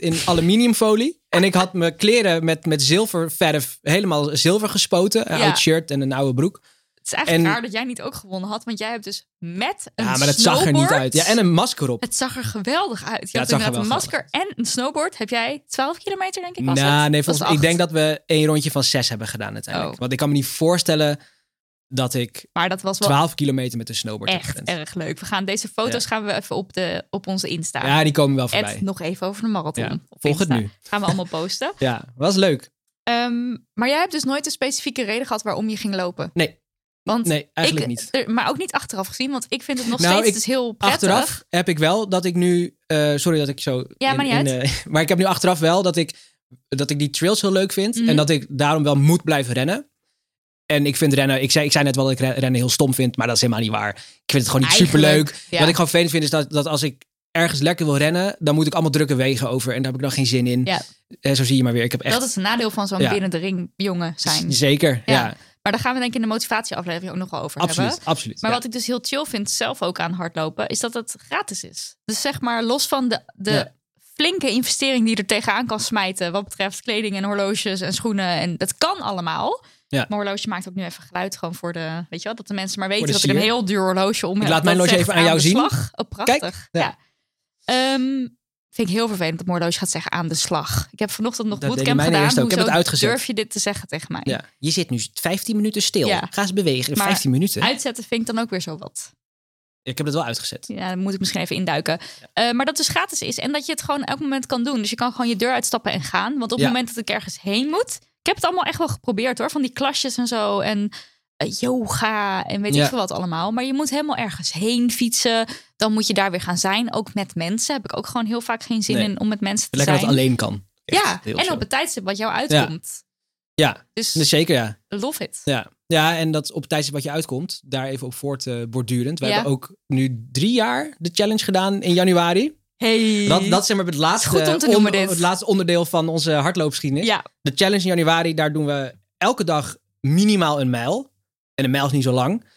[LAUGHS]
in aluminiumfolie. En ik had mijn kleren met, met zilververf helemaal zilver gespoten. Een
Ja.
oud shirt en een oude broek.
Het is eigenlijk
En-
raar dat jij niet ook gewonnen had. Want jij hebt dus met een
Ja, maar dat zag er niet
snowboard-
uit. Ja, en een masker op.
Het zag er geweldig uit. Je
Ja,
had
het zag er
inderdaad een
wel
masker en een snowboard. Heb jij 12 kilometer, denk ik, was
Nou,
het?
nee,
Was
volgens,
het
ik
acht?
denk dat we één rondje van zes hebben gedaan uiteindelijk.
Oh.
Want ik kan me niet voorstellen dat ik
Maar dat was wel
12 kilometer met een snowboard heb
echt
gerend.
erg leuk. We gaan deze foto's gaan we even op, de, op onze Insta.
Ja, die komen wel
Ed,
voorbij.
nog even over de marathon.
Ja,
op
volg het
Insta.
nu.
Gaan we allemaal
[LAUGHS]
posten.
Ja, was leuk.
Ehm, maar jij hebt dus nooit een specifieke reden gehad waarom je ging lopen.
Nee.
Want
Nee, eigenlijk
ik,
niet.
er- maar ook niet achteraf gezien, want ik vind het nog
Nou,
steeds
ik-
dus heel prettig.
Achteraf heb ik wel dat ik nu. eh, sorry dat ik zo.
Ja,
in-
maakt niet
in, eh, [LAUGHS] maar ik heb nu achteraf wel dat ik, dat ik die trails heel leuk vind.
Mhm.
En dat ik daarom wel moet blijven rennen. En ik vind rennen. Ik zei, ik zei net wel dat ik re- rennen heel stom vind. Maar dat is helemaal niet waar. Ik vind het gewoon niet superleuk.
Eigenlijk, ja.
Wat ik gewoon vervelend vind is dat, dat als ik ergens lekker wil rennen. dan moet ik allemaal drukke wegen over. En daar heb ik dan geen zin in.
Ja.
En zo zie je maar weer. Ik heb echt.
Dat is een nadeel van zo'n
Ja.
binnen de ring jongen zijn.
Zeker. Ja,
Ja, Maar daar gaan we denk ik in de motivatieaflevering ook nog wel over hebben.
absoluut. absoluut
Maar
ja.
wat ik dus heel chill vind zelf ook aan hardlopen, is dat het gratis is. Dus zeg maar, los van de, de
Ja.
flinke investering die je er tegenaan kan smijten, wat betreft kleding en horloges en schoenen, en dat kan allemaal,
Ja.
Mijn horloge maakt ook nu even geluid gewoon voor de... Weet je wel, dat de mensen maar weten
de
dat ik een
sier.
heel duur horloge om heb.
laat mijn
Dat
horloge
zegt
even aan jou zien.
de slag. Oh, prachtig.
ja.
ja. Ehm, vind ik heel vervelend dat mijn horloge gaat zeggen aan de slag. Ik heb vanochtend nog
Dat deed
bootcamp
mijne
gedaan.
eerst ook. Ik heb
Hoezo
het uitgezet.
durf je dit te zeggen tegen mij?
Ja. Je zit nu 15 minuten stil.
Ja.
Ga eens bewegen.
Maar
15 minuten.
Uitzetten vind ik dan ook weer zo wat.
Ik heb het wel uitgezet.
Ja, dan moet ik misschien even induiken. Eh, maar dat dus gratis is en dat je het gewoon elk moment kan doen. Dus je kan gewoon je deur uitstappen en gaan. Want op het
Ja.
moment dat ik ergens heen moet... Ik heb het allemaal echt wel geprobeerd hoor. Van die klasjes en zo. En eh, yoga en weet
Ja.
ik veel wat allemaal. Maar je moet helemaal ergens heen fietsen. Dan moet je daar weer gaan zijn. Ook met mensen heb ik ook gewoon heel vaak geen zin
Nee.
in om met mensen te
Lekker dat
zijn.
het alleen kan. Echt
ja,
heel
en
chill.
op het tijdstip wat jou uitkomt.
Ja,
Dus
dus zeker ja.
love it.
Ja. ja, en dat op het tijdstip wat je uitkomt, daar even op voort eh, bordurend. We
Ja.
hebben ook nu drie jaar de challenge gedaan in januari.
Hey.
Dat, dat is zeg maar het laatste,
Goed om te noemen dit.
het laatste onderdeel van onze hardloopgeschiedenis.
Ja,
De challenge in januari, daar doen we elke dag minimaal een mijl. En een mijl is niet zo lang. 1,6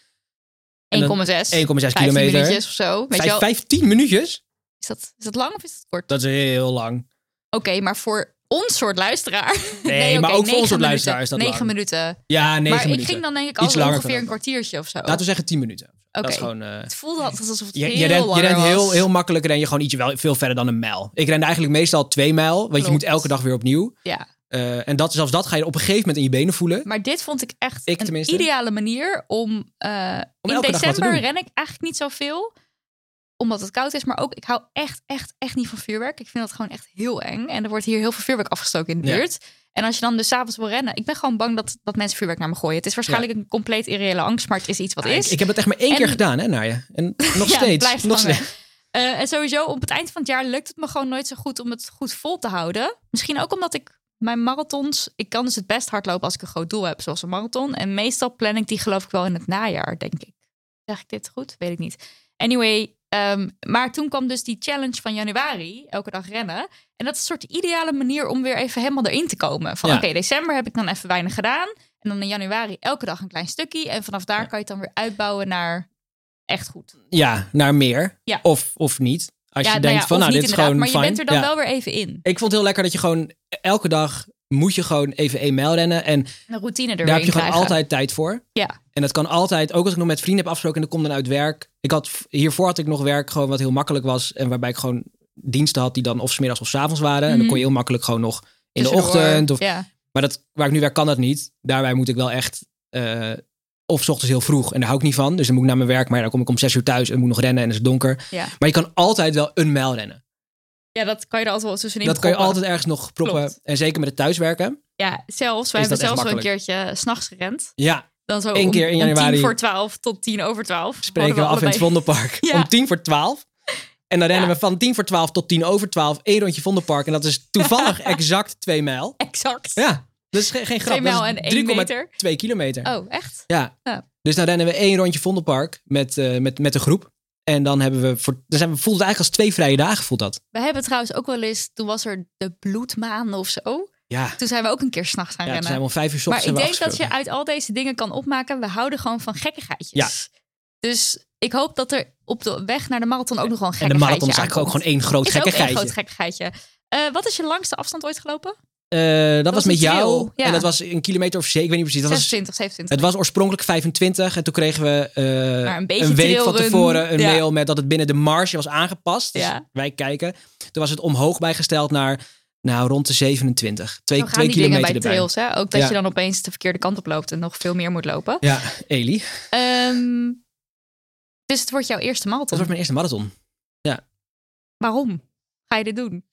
En dan
1,6. 1,6
kilometer.
minuutjes of zo. Weet je
Vijf-
wel,
15 minuutjes?
is dat, is dat lang of is dat kort?
Dat is heel lang.
Oké, maar voor ons soort luisteraar. [LAUGHS]
Nee, maar
oké,
ook voor ons soort
negen
luisteraar is dat
minuten.
lang.
Negen minuten.
Ja, 9
maar
minuten.
ik ging dan denk ik
Iets
altijd
langer
ongeveer
dan
een kwartiertje of zo.
Laten we zeggen 10 minuten.
Oké.
Dat is gewoon... eh,
Het voelde altijd alsof het
je,
heel
je rent, je
langer
rent
was.
heel, heel makkelijk ren je gewoon ietsje wel, veel verder dan een mijl. Ik ren eigenlijk meestal twee mijl, want je
Klopt.
moet elke dag weer opnieuw.
Ja,
Eh, en dat, zelfs dat ga je op een gegeven moment in je benen voelen.
maar dit vond ik echt
Ik
een
tenminste.
ideale manier om... eh, in
elke dag wat te
december
doen.
ren ik eigenlijk niet zoveel, omdat het koud is. Maar ook, ik hou echt, echt, echt niet van vuurwerk. Ik vind dat gewoon echt heel eng. En er wordt hier heel veel vuurwerk afgestoken in de
Ja.
buurt. En als je dan dus s'avonds wil rennen... Ik ben gewoon bang dat, dat mensen vuurwerk naar me gooien. Het is waarschijnlijk een compleet irreële angst, maar het is iets wat
Ah, ik,
is.
ik heb dat echt maar één
En-
keer gedaan, hè, naar je. En
[LAUGHS]
nog
Ja,
steeds.
blijft
nog
hangen.
steeds.
Eh, en sowieso, op het eind van het jaar lukt het me gewoon nooit zo goed om het goed vol te houden. Misschien ook omdat ik mijn marathons... Ik kan dus het best hardlopen als ik een groot doel heb, zoals een marathon. En meestal plan ik die geloof ik wel in het najaar, denk ik. Zeg ik dit goed? Weet ik niet. Anyway, ehm, maar toen kwam dus die challenge van januari, elke dag rennen. En dat is een soort ideale manier om weer even helemaal erin te komen. Van
Ja.
oké, december heb ik dan even weinig gedaan. En dan in januari elke dag een klein stukje. En vanaf daar kan je het dan weer uitbouwen naar echt goed.
Ja, naar meer.
Ja.
Of, of niet. Als je
nou
denkt van,
of
nou,
niet
dit is
inderdaad,
gewoon
Maar je
fijn.
bent er dan
Ja.
wel weer even in.
Ik vond het heel lekker dat je gewoon elke dag moet je gewoon even één mijl rennen. En
Een routine er
daar
weer
heb je
in
gewoon
krijgen.
altijd tijd voor.
Ja.
En dat kan altijd, ook als ik nog met vrienden heb afgesproken en dat komt dan uit werk. Ik had, v- hiervoor had ik nog werk gewoon wat heel makkelijk was. En waarbij ik gewoon diensten had die dan of smiddags of s avonds waren. En dan
Mhm.
kon je heel makkelijk gewoon nog in de
Tussendoor.
ochtend of
Ja.
Maar dat, waar ik nu werk kan dat niet. Daarbij moet ik wel echt... eh, of 's ochtends heel vroeg. En daar hou ik niet van. Dus dan moet ik naar mijn werk. Maar dan kom ik om zes uur thuis en moet nog rennen en is het donker.
Ja.
Maar je kan altijd wel een mijl rennen.
ja, dat kan je er altijd wel tussenin
dat kan je
proppen.
altijd ergens nog proppen.
Klopt.
En zeker met het thuiswerken.
Ja, zelfs. Wij
Is dat
hebben
echt
zelfs wel een keertje eh, s'nachts gerend.
Ja,
Dan zo
Eén
om-
keer
om
in januari.
tien voor twaalf tot tien over twaalf.
spreken we
Hadden
af in het
allebei-
Vondelpark.
[LAUGHS] Ja.
Om tien voor twaalf. En dan rennen
Ja.
we van tien voor twaalf tot tien over twaalf. één rondje Vondelpark. En dat is toevallig
[LAUGHS]
exact twee mijl.
Exact.
Ja, dat is ge- geen grap.
Twee mijl
Dat is
en één
3,2
meter.
kilometer.
Oh, echt?
Ja.
Ja.
Dus dan rennen we één rondje Vondelpark met, eh, met, met de groep. En dan hebben we voor, dan zijn we, voelt het eigenlijk als twee vrije dagen, voelt dat.
We hebben trouwens ook wel eens... Toen was er de bloedmaan of zo.
Ja.
Toen zijn we ook een keer s'nachts gaan
Ja, toen
rennen.
zijn we om vijf uur 's
Maar
ochtends
ik denk
hebben
dat
we
je uit al deze dingen kan opmaken. We houden gewoon van gekkigheidjes. Dus ik hoop dat er op de weg naar de marathon ook nog wel een
En de
gekkigheidje
marathon is eigenlijk ook gewoon één groot
is ook een groot
gekkigheidje.
gekkigheidje. Eh, wat is je langste afstand ooit gelopen?
Eh, dat, was
was
met
een trail,
jou.
ja.
En dat was een kilometer of zeven, ik weet niet precies. Dat was,
26, 27.
het was oorspronkelijk 25. En toen kregen we eh,
Maar een beetje
een week van
trailrun.
tevoren een
Ja.
mail met dat het binnen de marge was aangepast. Dus
Ja.
wij kijken. Toen was het omhoog bijgesteld naar nou, rond de 27. Twee,
Zo gaan
twee
die dingen
kilometer
bij de
erbij.
trails. Hè? Ook dat
Ja.
je dan opeens de verkeerde kant op loopt en nog veel meer moet lopen.
Ja, Eli.
Ehm, dus het wordt jouw eerste
Dat
marathon.
was mijn eerste marathon.
Waarom ga je dit doen?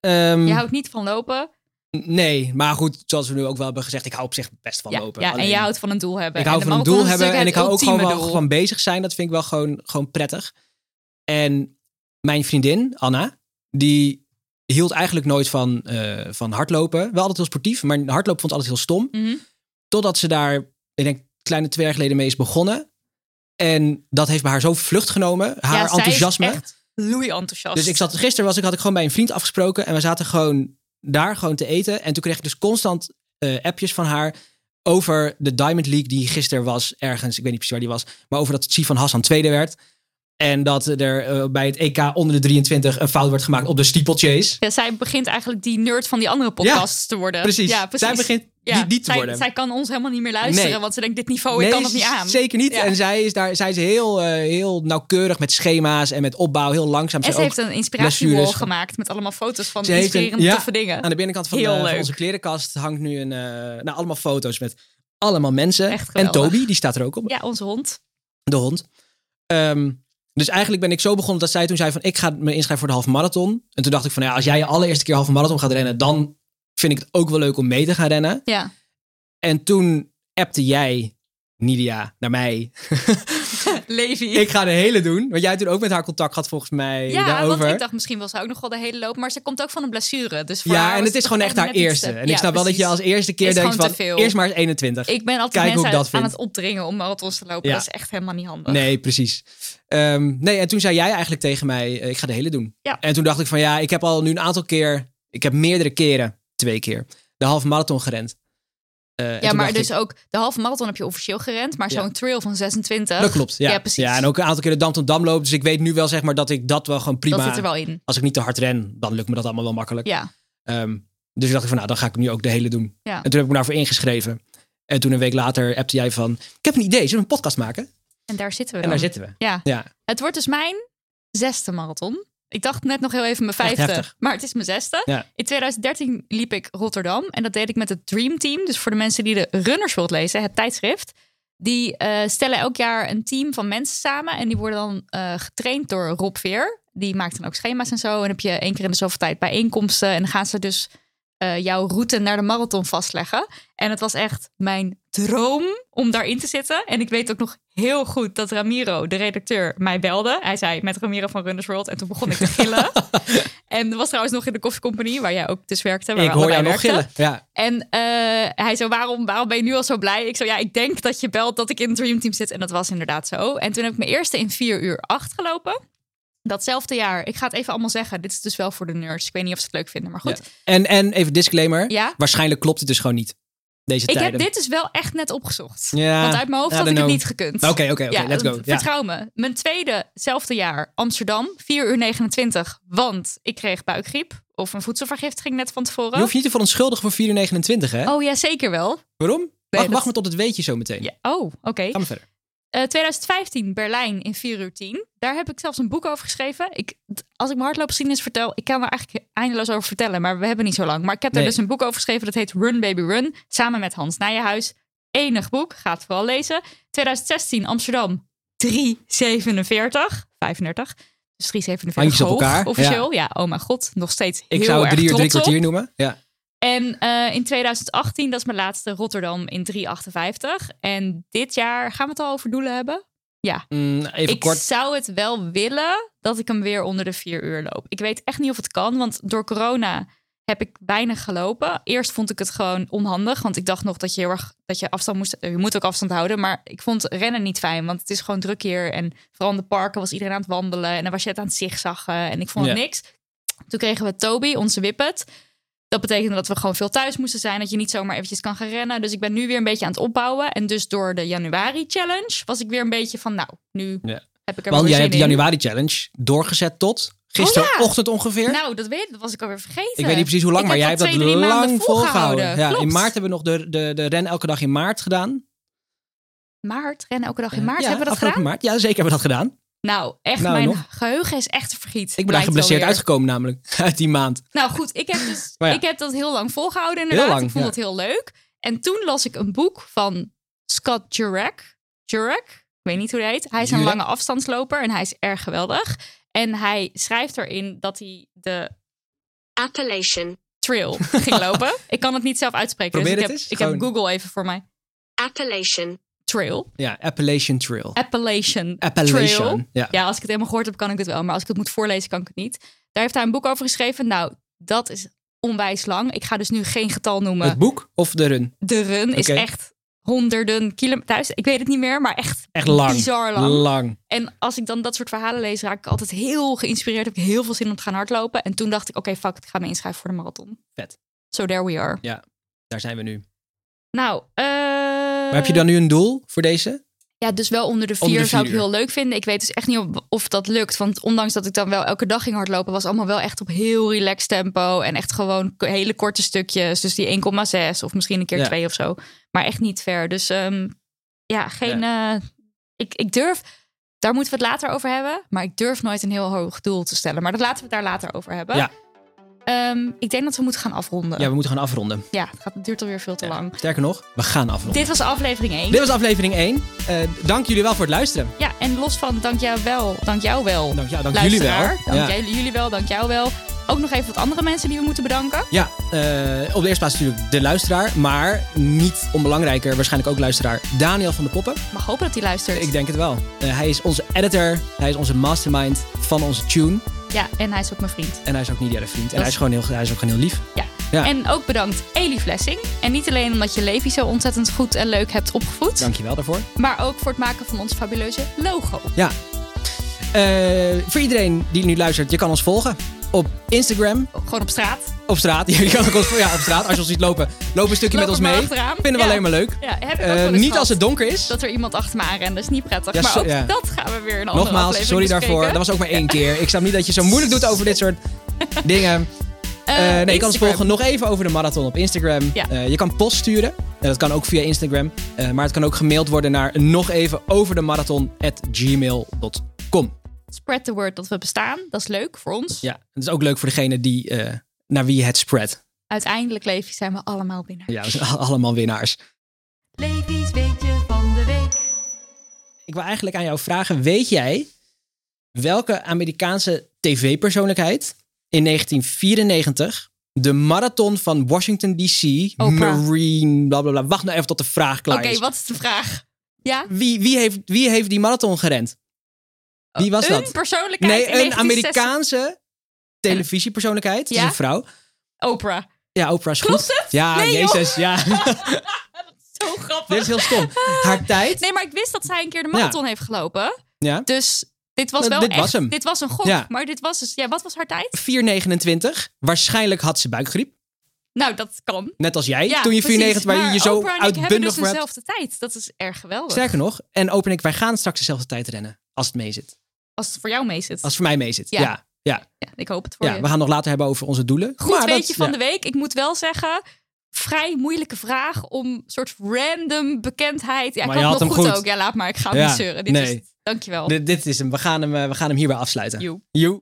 Ehm,
Je houdt niet van lopen.
Nee, maar goed, zoals we nu ook wel hebben gezegd, ik hou op zich best van
Ja,
lopen.
ja, en
Alleen,
je houdt van een doel hebben.
ik hou
En de
van een
marathon
doel
is
hebben en ik
natuurlijk
hou ook
het
gewoon
ultieme
wel
doel.
van bezig zijn. Dat vind ik wel gewoon, gewoon prettig. En mijn vriendin, Anna, die hield eigenlijk nooit van, eh, van hardlopen. Wel altijd heel sportief, maar hardlopen vond ze altijd heel stom.
Mhm.
Totdat ze daar, ik denk, kleine twee jaar geleden mee is begonnen. En dat heeft bij haar zo vlucht genomen. Haar
Ja, zij is
enthousiasme.
echt loei enthousiast.
Dus ik zat gisteren was ik had ik gewoon bij een vriend afgesproken en we zaten gewoon daar gewoon te eten en toen kreeg ik dus constant eh, appjes van haar over de Diamond League die gisteren was ergens, ik weet niet precies waar die was, maar over dat Sifan Hassan tweede werd. En dat er eh, bij het EK onder de 23 een fout werd gemaakt op de steeplechase.
Ja, zij begint eigenlijk die nerd van die andere podcasts te worden.
Precies.
Ja, precies.
Zij begint
Ja,
die, die te
zij,
worden.
zij kan ons helemaal niet meer luisteren,
Nee.
want ze denkt, dit niveau, ik kan het niet
z-
aan.
Zeker niet.
Ja.
En zij is, daar, zij is heel, eh, heel nauwkeurig met schema's en met opbouw. Heel langzaam.
En
Ze
ze heeft
ook
een inspiratiewall
blessures.
gemaakt met allemaal foto's van
Ze heeft een-
inspirerende
ja.
toffe dingen.
aan de binnenkant van, de-
Heel
van
leuk.
onze klerenkast hangt nu een, eh, nou, allemaal foto's met allemaal mensen.
Echt
en
geweldig.
Toby, die staat er ook op.
Ja, onze hond.
de hond. Ehm, dus eigenlijk ben ik zo begonnen dat zij toen zei van ik ga me inschrijven voor de halve marathon. En toen dacht ik van ja, als jij je allereerste keer halve marathon gaat rennen, dan vind ik het ook wel leuk om mee te gaan rennen.
Ja. [LAUGHS]
En toen appte jij, Nidia, naar mij.
Levi.
Ik ga de hele doen. Want jij hebt toen ook met haar contact gehad volgens mij
ja,
daarover.
want ik dacht, misschien wil ze ook nog wel de hele loop. Maar ze komt ook van een blessure. Dus voor haar
ja,
was
en het is gewoon
toch
echt haar
net iets
eerste.
te-
En
Ja,
ik snap wel dat je
precies.
als eerste keer
Is
denkt
gewoon
van
te veel.
eerst maar eens 21.
Ik ben altijd
Kijk hoe ik
mensen
dat
uit- aan
vind.
het opdringen om marathons te lopen.
Ja.
Dat is echt helemaal niet handig.
Nee, precies. Ehm, nee, en toen zei jij eigenlijk tegen mij, eh, ik ga de hele doen.
Ja.
En toen dacht ik van ja, ik heb al nu een aantal keer, ik heb meerdere keren, twee keer, de halve marathon gerend. Eh, en
ja,
toen
maar
dacht
dus
ik,
ook de halve marathon heb je officieel gerend. Maar
Ja.
zo'n trail van 26,
dat klopt. Ja.
Ja, precies.
en ook een aantal keer de Dam tot Dam loop. Dus ik weet nu wel zeg maar dat ik dat wel gewoon prima.
dat zit er wel in.
Als ik niet te hard ren, dan lukt me dat allemaal wel makkelijk.
Ja,
Ehm, dus ik dacht van nou, dan ga ik hem nu ook de hele doen.
Ja.
En toen heb ik me daarvoor ingeschreven. En toen een week later appte jij van, ik heb een idee, zullen we een podcast maken?
en daar zitten we
En
dan.
daar zitten we.
Ja.
Ja.
Het wordt dus mijn zesde marathon. Ik dacht net nog heel even mijn
Echt
vijfde,
heftig.
maar het is mijn zesde.
Ja.
In 2013 liep ik Rotterdam en dat deed ik met het Dream Team. Dus voor de mensen die de Runners World lezen, het tijdschrift. Die eh, stellen elk jaar een team van mensen samen en die worden dan eh, getraind door Rob Veer. Die maakt dan ook schema's en zo. En heb je één keer in de zoveel tijd bijeenkomsten en dan gaan ze dus eh, jouw route naar de marathon vastleggen. En het was echt mijn droom om daarin te zitten. En ik weet ook nog heel goed dat Ramiro, de redacteur, mij belde. Hij zei met Ramiro van Runners World. En toen begon ik te
[LAUGHS]
gillen. en dat was trouwens nog in de koffiecompagnie, waar jij ook dus werkte. Waar
Ik
we
hoor jou
allebei
nog
werkten.
gillen. Ja.
En eh, hij zo, waarom, waarom ben je nu al zo blij? Ik zo, ja, ik denk dat je belt dat ik in het Dream Team zit. En dat was inderdaad zo. En toen heb ik mijn eerste in 4 uur 8 gelopen. Datzelfde jaar. Ik ga het even allemaal zeggen. Dit is dus wel voor de nerds. Ik weet niet of ze het leuk vinden, maar goed.
En, en even disclaimer.
ja?
Waarschijnlijk klopt het dus gewoon niet. Deze
Ik
tijden.
heb dit dus wel echt net opgezocht.
Ja.
Want uit mijn hoofd
I
had ik het
don't know.
niet gekund.
Oké, oké, oké.
ja,
Let's go. Ja.
Vertrouw me. Mijn tweede, zelfde jaar, Amsterdam, 4 uur 29. Want ik kreeg buikgriep of een voedselvergiftiging net van
Je
tevoren.
hoeft je niet te verontschuldigen voor 429, hè?
Oh ja, zeker wel.
Waarom? wacht,
dat-
wacht maar tot het weet je zo meteen.
Ja. Oh, oké.
Ga maar verder.
Eh, 2015, Berlijn in 4 uur 10. Daar heb ik zelfs een boek over geschreven. Ik, d- als ik mijn hardloopgeschiedenis vertel, ik kan er eigenlijk eindeloos over vertellen, maar we hebben niet zo lang. Maar ik heb daar
Nee.
dus een boek over geschreven, dat heet Run Baby Run, samen met Hans Nijenhuis. Enig boek, gaat vooral lezen. 2016, Amsterdam, 347, 35. Dus 347
Handjes op
hoog,
elkaar,
officieel. Ja. oh mijn god, nog steeds
Ik
heel
zou het
erg
drie uur, drie
trots op.
kwartier noemen. Ja.
En eh, in 2018, dat is mijn laatste, Rotterdam in 358. En dit jaar gaan we het al over doelen hebben.
Mm, even
ik
kort.
zou het wel willen dat ik hem weer onder de vier uur loop. Ik weet echt niet of het kan, want door corona heb ik weinig gelopen. Eerst vond ik het gewoon onhandig, want ik dacht nog dat je heel erg dat je afstand moest. Je moet ook afstand houden, maar ik vond rennen niet fijn, want het is gewoon druk hier en vooral in de parken was iedereen aan het wandelen en dan was je het aan het zigzaggen en ik vond het
Ja.
niks. Toen kregen we Toby, onze wippet. Dat betekende dat we gewoon veel thuis moesten zijn. Dat je niet zomaar eventjes kan gaan rennen. Dus ik ben nu weer een beetje aan het opbouwen. En dus door de januari challenge was ik weer een beetje van... Nou, nu
Ja.
heb ik er wel weer
Want jij
zin
hebt de
in. Oh,
januari challenge doorgezet tot gisterochtend ongeveer.
Nou, dat weet ik. Dat was ik alweer vergeten.
ik weet niet precies hoe lang,
Ik
maar jij
heb
hebt
dat
dat
twee, drie maanden
lang volgehouden.
volgehouden.
Ja, in
Klopt.
maart hebben we nog de, de, de ren elke dag in maart gedaan.
Maart, rennen elke dag in maart.
ja,
hebben we dat
afgelopen
gedaan?
maart. Ja, zeker hebben we dat gedaan.
Nou, echt,
Nou,
mijn
nog.
geheugen is echt vergiet.
Ik ben daar
blijkt wel
geblesseerd
weer.
uitgekomen namelijk. [LAUGHS] Uit die maand.
Nou goed, ik heb, dus,
Maar ja.
ik heb dat heel lang volgehouden inderdaad.
Heel lang,
ik vond
ja.
het heel leuk. En toen las ik een boek van Scott Jurek. Jurek? Ik weet niet hoe hij heet. Hij is een
Jurek?
lange afstandsloper en hij is erg geweldig. En hij schrijft erin dat hij de
Appellation.
[LAUGHS]
trail ging lopen. ik kan het niet zelf uitspreken.
Probeer
dus ik,
het
heb,
eens,
ik heb
gewoon.
Google even voor mij.
Appellation.
Trail.
Ja, Appalachian Trail.
Appalachian.
Appalachian.
Trail.
Ja.
Ja, als ik het helemaal gehoord heb, kan ik het wel. Maar als ik het moet voorlezen, kan ik het niet. Daar heeft hij een boek over geschreven. Nou, dat is onwijs lang. Ik ga dus nu geen getal noemen.
Het boek of de run?
De run is
Oké.
echt honderden kilometers. Ik weet het niet meer, maar echt,
Echt lang.
bizar lang.
Lang.
En als ik dan dat soort verhalen lees, raak ik altijd heel geïnspireerd. Heb ik heel veel zin om te gaan hardlopen. En toen dacht ik, oké, fuck, ik ga me inschrijven voor de marathon.
Vet.
So there we are.
Daar zijn we nu.
Nou, eh,
Maar heb je dan nu een doel voor deze?
Ja, dus wel onder de vier,
Onder de
zou ik
vier
heel leuk vinden. Ik weet dus echt niet of, of dat lukt. Want ondanks dat ik dan wel elke dag ging hardlopen, was allemaal wel echt op heel relaxed tempo. En echt gewoon k- hele korte stukjes. Dus die 1,6 of misschien een keer
Ja.
2 of zo. Maar echt niet ver. Dus ehm, ja, geen. eh, ik, ik durf. Daar moeten we het later over hebben. Maar ik durf nooit een heel hoog doel te stellen. Maar dat laten we het daar later over hebben.
Ja.
Ehm, ik denk dat we moeten gaan afronden.
Ja,
Ja,
we moeten gaan afronden.
het, gaat, het duurt alweer veel te
Ja.
lang.
Sterker nog, we gaan afronden.
Dit was aflevering 1.
Dit was aflevering 1. dank jullie wel voor het luisteren.
Ja, en los van dank jou wel, dank jou wel.
Dank, ja, dank jullie wel.
luisteraar.
ja.
Dank jij- jullie wel, dank jou wel. Ook nog even wat andere mensen die we moeten bedanken.
Ja, eh, op de eerste plaats natuurlijk de luisteraar, maar niet onbelangrijker, waarschijnlijk ook luisteraar, Daniel van de Poppen.
Mag hopen dat hij luistert.
Ik denk het wel. Eh, hij is onze editor, hij is onze mastermind van onze tune
Ja, en hij is ook mijn vriend.
en hij is ook niet de vriend. En
Dat
hij
is-
is, gewoon heel, hij is ook gewoon heel lief.
Ja.
Ja.
En ook bedankt Elie Flessing. En niet alleen omdat je Levi zo ontzettend goed en leuk hebt opgevoed.
Dankjewel daarvoor.
Maar ook voor het maken van ons fabuleuze logo.
Ja. Eh, voor iedereen die nu luistert, je kan ons volgen op Instagram,
Gewoon op straat.
op straat. [LAUGHS] Je kan ook ons, ja, op straat. Als je ons ziet lopen, loop een stukje
Loop
met ons
er maar
mee.
achteraan.
Vinden we
Ja.
alleen maar leuk.
Ja, heb ik ook
Eh,
wel eens
niet
gehad.
als het donker is.
Dat er iemand achter me aanrent, dat is niet prettig.
Ja,
maar
so-
ook
ja.
dat gaan we weer een andere
Nogmaals,
aflevering
sorry daarvoor. Dat
bespreken.
was ook maar
[LAUGHS]
één keer. Ik snap niet dat je zo moeilijk doet over dit soort dingen. Eh,
Eh,
nee, je kan ons
Instagram.
volgen nog even over de marathon op Instagram.
Ja.
Eh, je kan post sturen. En dat kan ook via Instagram. Eh, maar het kan ook gemaild worden naar nog even over de marathon gmail.com.
Spread the word dat we bestaan. Dat is leuk voor ons.
Ja, dat is ook leuk voor degene die, eh, naar wie je het spread.
Uiteindelijk, Levi, zijn we allemaal binnen.
Ja, we zijn [LAUGHS] al- allemaal winnaars.
Levi's weetje van de week.
Ik wil eigenlijk aan jou vragen: weet jij welke Amerikaanse tv-persoonlijkheid in 1994 de marathon van Washington D.C.
Oprah.
Marine, bla bla bla. Wacht nou even tot de vraag klaar
Oké,
is.
wat is de vraag? Ja?
Wie, wie, heeft, wie heeft die marathon gerend? Wie was
een
dat?
persoonlijkheid
Nee,
in
een
1960
Amerikaanse televisiepersoonlijkheid. Het is
Ja?
een vrouw.
Oprah.
Ja, Oprah is goed.
Klopt het?
Ja,
Nee, joh. [LAUGHS]
Jezus, ja.
Zo grappig.
Dit is heel stom.
[LAUGHS]
Haar tijd.
Nee, maar ik wist dat zij een keer de marathon heeft gelopen.
Ja.
Dus dit was
Eh,
wel
dit
echt...
was hem.
Dit was een gok.
Ja.
Maar dit was dus... Ja, wat was haar tijd?
4,29. Waarschijnlijk had ze buikgriep.
Nou, dat kan.
Net als jij.
Ja,
toen je
precies.
94, waar je
Maar
je zo
Oprah en ik hebben
uitbundig
dus
voor hebt.
dezelfde tijd. Dat is erg geweldig.
Sterker nog, en Open ik, wij gaan straks dezelfde tijd rennen. Als het mee zit.
Als het voor jou mee zit.
Als het voor mij mee zit.
Ja.
Ja. Ja. ja.
Ja, ik hoop het voor je.
we gaan nog later hebben over onze doelen.
Goed
Maar
weetje
dat-
van
ja.
de week. Ik moet wel zeggen, vrij moeilijke vraag om soort random bekendheid. Ja,
Maar
ik
je
had,
had
nog
hem
goed,
goed.
ook. Ja, laat maar. Ik ga hem
Ja,
niet zeuren. Dit
nee.
is het. Dankjewel.
Dit, dit is hem. We gaan hem, eh, we gaan hem hierbij afsluiten.
Joe.
Joe.